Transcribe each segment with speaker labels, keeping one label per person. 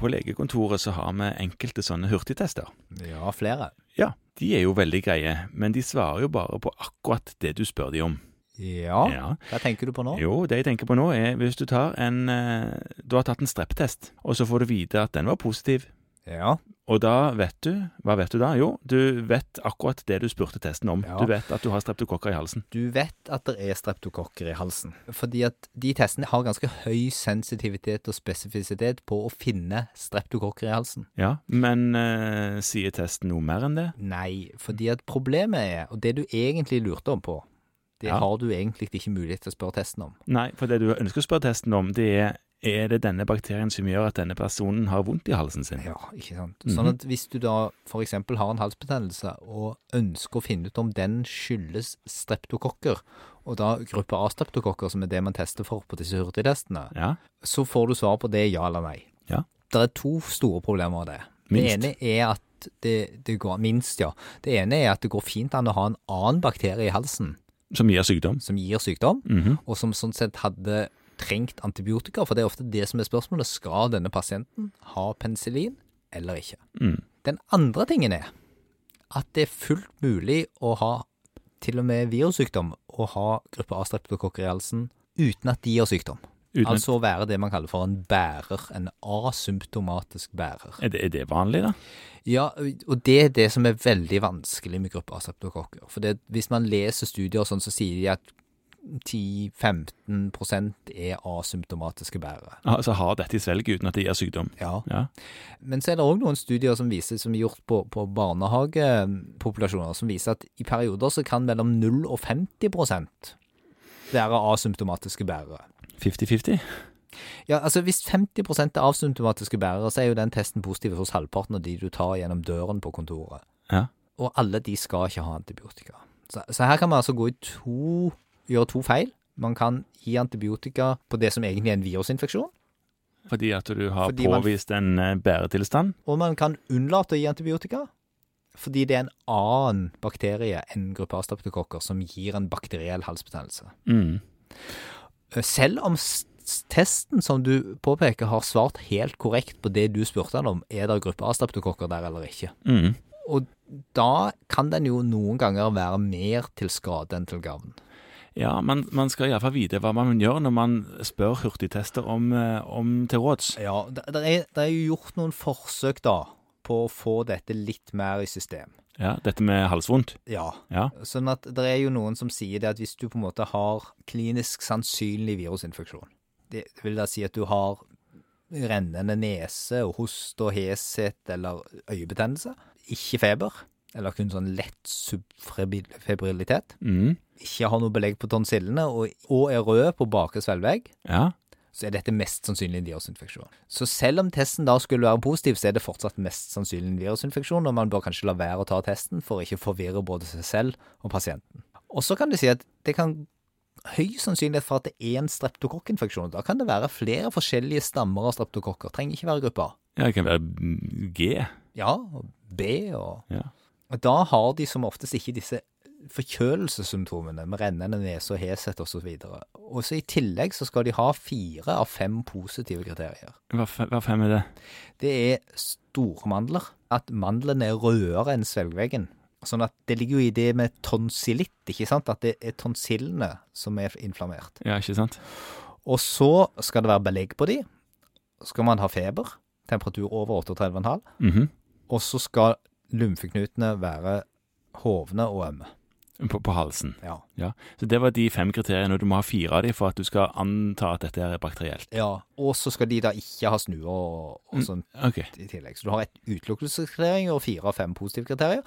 Speaker 1: på legekontoret så har vi enkelte sånne hurtigtester.
Speaker 2: Ja, flere.
Speaker 1: Ja, de er jo veldig greie, men de svarer jo bare på akkurat det du spør de om.
Speaker 2: Ja.
Speaker 1: Ja.
Speaker 2: Hva tenker du på nå?
Speaker 1: Jo, det jeg tenker på nå er hvis du tar en eh, Du har tatt en strepptest, og så får du vite at den var positiv.
Speaker 2: Ja.
Speaker 1: Og da vet du Hva vet du da? Jo, du vet akkurat det du spurte testen om.
Speaker 2: Ja.
Speaker 1: Du vet at du har streptokokker i halsen.
Speaker 2: Du vet at det er streptokokker i halsen. Fordi at de testene har ganske høy sensitivitet og spesifisitet på å finne streptokokker i halsen.
Speaker 1: Ja, men eh, sier testen noe mer enn det?
Speaker 2: Nei, fordi at problemet er, og det du egentlig lurte om på, det
Speaker 1: Ja.
Speaker 2: har du egentlig ikke mulighet til å spørre testen om.
Speaker 1: Nei, for det du ønsker å spørre testen om, det er er det denne bakterien som gjør at denne personen har vondt i halsen sin?
Speaker 2: Ja, ikke sant.
Speaker 1: Mhm.
Speaker 2: Sånn at hvis du da for eksempel har en halsbetennelse og ønsker å finne ut om den skyldes streptokokker, og da gruppe A-streptokokker, som er det man tester for på disse hurtigtestene,
Speaker 1: Ja,
Speaker 2: så får du svar på det ja eller nei.
Speaker 1: Ja.
Speaker 2: Det er to store problemer av det.
Speaker 1: Minst.
Speaker 2: Det ene er at det, det går Minst, ja. Det ene er at det går fint an å ha en annen bakterie i halsen
Speaker 1: Som gir sykdom?
Speaker 2: som gir sykdom,
Speaker 1: Mhm.
Speaker 2: og som sånn sett hadde trengt antibiotika, for det er ofte det som er spørsmålet. Skal denne pasienten ha penicillin eller ikke?
Speaker 1: Mm.
Speaker 2: Den andre tingen er at det er fullt mulig å ha til og med virussykdom og ha gruppe A-streptokokker i halsen uten at de har sykdom.
Speaker 1: Uten at-
Speaker 2: Altså å være det man kaller for en bærer, en asymptomatisk bærer.
Speaker 1: Er, det, er det vanlig, da?
Speaker 2: Ja, og det er det som er veldig vanskelig med gruppe A-streptokokker. For det, hvis man leser studier og sånn, så sier de at 10-15 er asymptomatiske bærere.
Speaker 1: Altså har dette i svelget uten at det gir sykdom?
Speaker 2: Ja.
Speaker 1: Ja.
Speaker 2: Men så er det òg noen studier som viser, som er gjort på, på barnehagepopulasjoner, som viser at i perioder så kan mellom 0 og 50 være asymptomatiske bærere.
Speaker 1: 50-50?
Speaker 2: Ja, altså Hvis 50 er asymptomatiske bærere, så er jo den testen positiv hos halvparten av de du tar gjennom døren på kontoret.
Speaker 1: Ja.
Speaker 2: Og alle de skal ikke ha antibiotika. Så, så her kan man altså gå i to, gjøre to feil. Man kan gi antibiotika på det som egentlig er en virusinfeksjon,
Speaker 1: Fordi at du har
Speaker 2: Fordi man-
Speaker 1: påvist en eh, bæretilstand?
Speaker 2: og man kan unnlate å gi antibiotika fordi det er en annen bakterie enn gruppe A streptokokker som gir en bakteriell halsbetennelse.
Speaker 1: Mm.
Speaker 2: Eh, selv om s- s- testen som du påpeker har svart helt korrekt på det du spurte han om, er det gruppe A-streptokokker der eller ikke?
Speaker 1: Mm.
Speaker 2: Og da kan den jo noen ganger være mer til skade enn til gavn.
Speaker 1: Ja, man, man skal iallfall vite hva man gjør når man spør hurtigtester om, eh, om til råds.
Speaker 2: Ja, det det er, det er jo gjort noen forsøk da på å få dette litt mer i system.
Speaker 1: Ja, dette med halsvondt.
Speaker 2: Ja.
Speaker 1: Ja.
Speaker 2: Sånn at det er jo noen som sier det at hvis du på en måte har klinisk sannsynlig virusinfeksjon, det vil da si at du har rennende nese og host og heshet eller øyebetennelse, ikke feber, eller kun sånn lett subfebrilitet,
Speaker 1: Mm.
Speaker 2: ikke har noe belegg på tonsillene og, og er rød på bakre svelvegg,
Speaker 1: Ja.
Speaker 2: så er dette mest sannsynlig en virusinfeksjon. Så selv om testen da skulle være positiv, så er det fortsatt mest sannsynlig en virusinfeksjon, og man bør kanskje la være å ta testen for å ikke forvirre både seg selv og pasienten. Og så kan du si at det kan høy sannsynlighet for at det er en streptokokkinfeksjon. Da kan det være flere forskjellige stammer av streptokokker. Trenger ikke være grupper.
Speaker 1: ja, det kan være mm, G.
Speaker 2: Ja, og B og
Speaker 1: Ja.
Speaker 2: og Da har de som oftest ikke disse forkjølelsessymptomene med rennende nese og heshet osv. Og så i tillegg så skal de ha fire av fem positive kriterier.
Speaker 1: Hva, f- hva fem er det?
Speaker 2: det er store mandler. At mandlene er rødere enn svelgveggen. Sånn at det ligger jo i det med tonsillitt, ikke sant? At det er tonsillene som er inflammert.
Speaker 1: Ja, ikke sant?
Speaker 2: Og så skal det være belegg på de. Skal man ha feber, temperatur over 38,5,
Speaker 1: Mhm.
Speaker 2: og så skal lymfeknutene være hovne og ømme.
Speaker 1: på, på halsen.
Speaker 2: Ja.
Speaker 1: Ja. Så det var de fem kriteriene, og du må ha fire av dem for at du skal anta at dette her er bakterielt.
Speaker 2: ja. Og så skal de da ikke ha snuer og,
Speaker 1: Mm.
Speaker 2: og sånn
Speaker 1: Ok.
Speaker 2: i tillegg. Så du har et utelukkelseskriterium og fire av fem positive kriterier.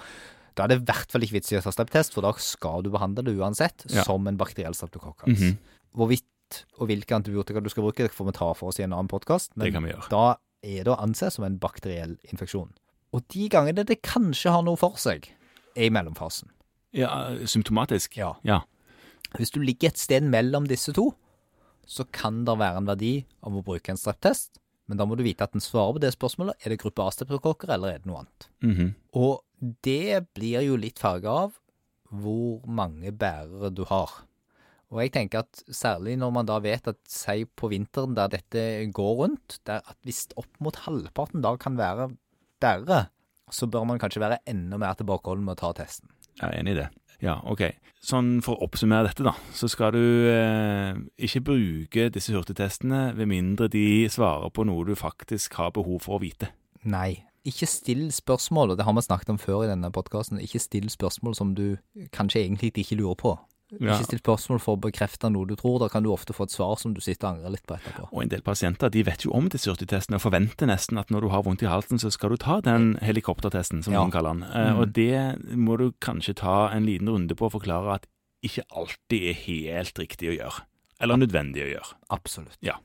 Speaker 2: Da er det i hvert fall ikke vits i å ta streptest, for da skal du behandle det uansett
Speaker 1: Ja.
Speaker 2: som en bakteriell streptokokkans.
Speaker 1: Mhm.
Speaker 2: Hvorvidt og hvilke antibiotika du skal bruke, det får vi ta for oss i en annen podkast,
Speaker 1: Det
Speaker 2: men
Speaker 1: kan vi gjøre.
Speaker 2: da er det å anse som en bakteriell infeksjon. Og de gangene det kanskje har noe for seg, er i mellomfasen.
Speaker 1: Ja, eh, symptomatisk.
Speaker 2: Ja.
Speaker 1: Ja.
Speaker 2: Hvis du ligger et sted mellom disse to, så kan det være en verdi av å bruke en streptest, men da må du vite at den svarer på det spørsmålet. Er det gruppe A-streptokokker, eller er det noe annet?
Speaker 1: Mhm.
Speaker 2: Og det blir jo litt farga av hvor mange bærere du har. Og jeg tenker at særlig når man da vet at si på vinteren der dette går rundt, der at hvis opp mot halvparten da kan være verre, så bør man kanskje være enda mer tilbakeholden med å ta testen.
Speaker 1: Jeg er enig i det. Ja, ok. Sånn for å oppsummere dette, da, så skal du eh, ikke bruke disse hurtigtestene ved mindre de svarer på noe du faktisk har behov for å vite.
Speaker 2: Nei. Ikke still spørsmål, og det har vi snakket om før i denne podkasten. Ikke still spørsmål som du kanskje egentlig ikke lurer på.
Speaker 1: Ja.
Speaker 2: Ikke still spørsmål for å bekrefte noe du tror. Da kan du ofte få et svar som du sitter og angrer litt på etterpå.
Speaker 1: Og en del pasienter de vet jo om disse hurtigtestene og forventer nesten at når du har vondt i halsen, så skal du ta den helikoptertesten, som
Speaker 2: Ja.
Speaker 1: noen kaller den. Eh, Og det må du kanskje ta en liten runde på og forklare at ikke alltid er helt riktig å gjøre. Eller nødvendig å gjøre.
Speaker 2: Absolutt.
Speaker 1: Ja.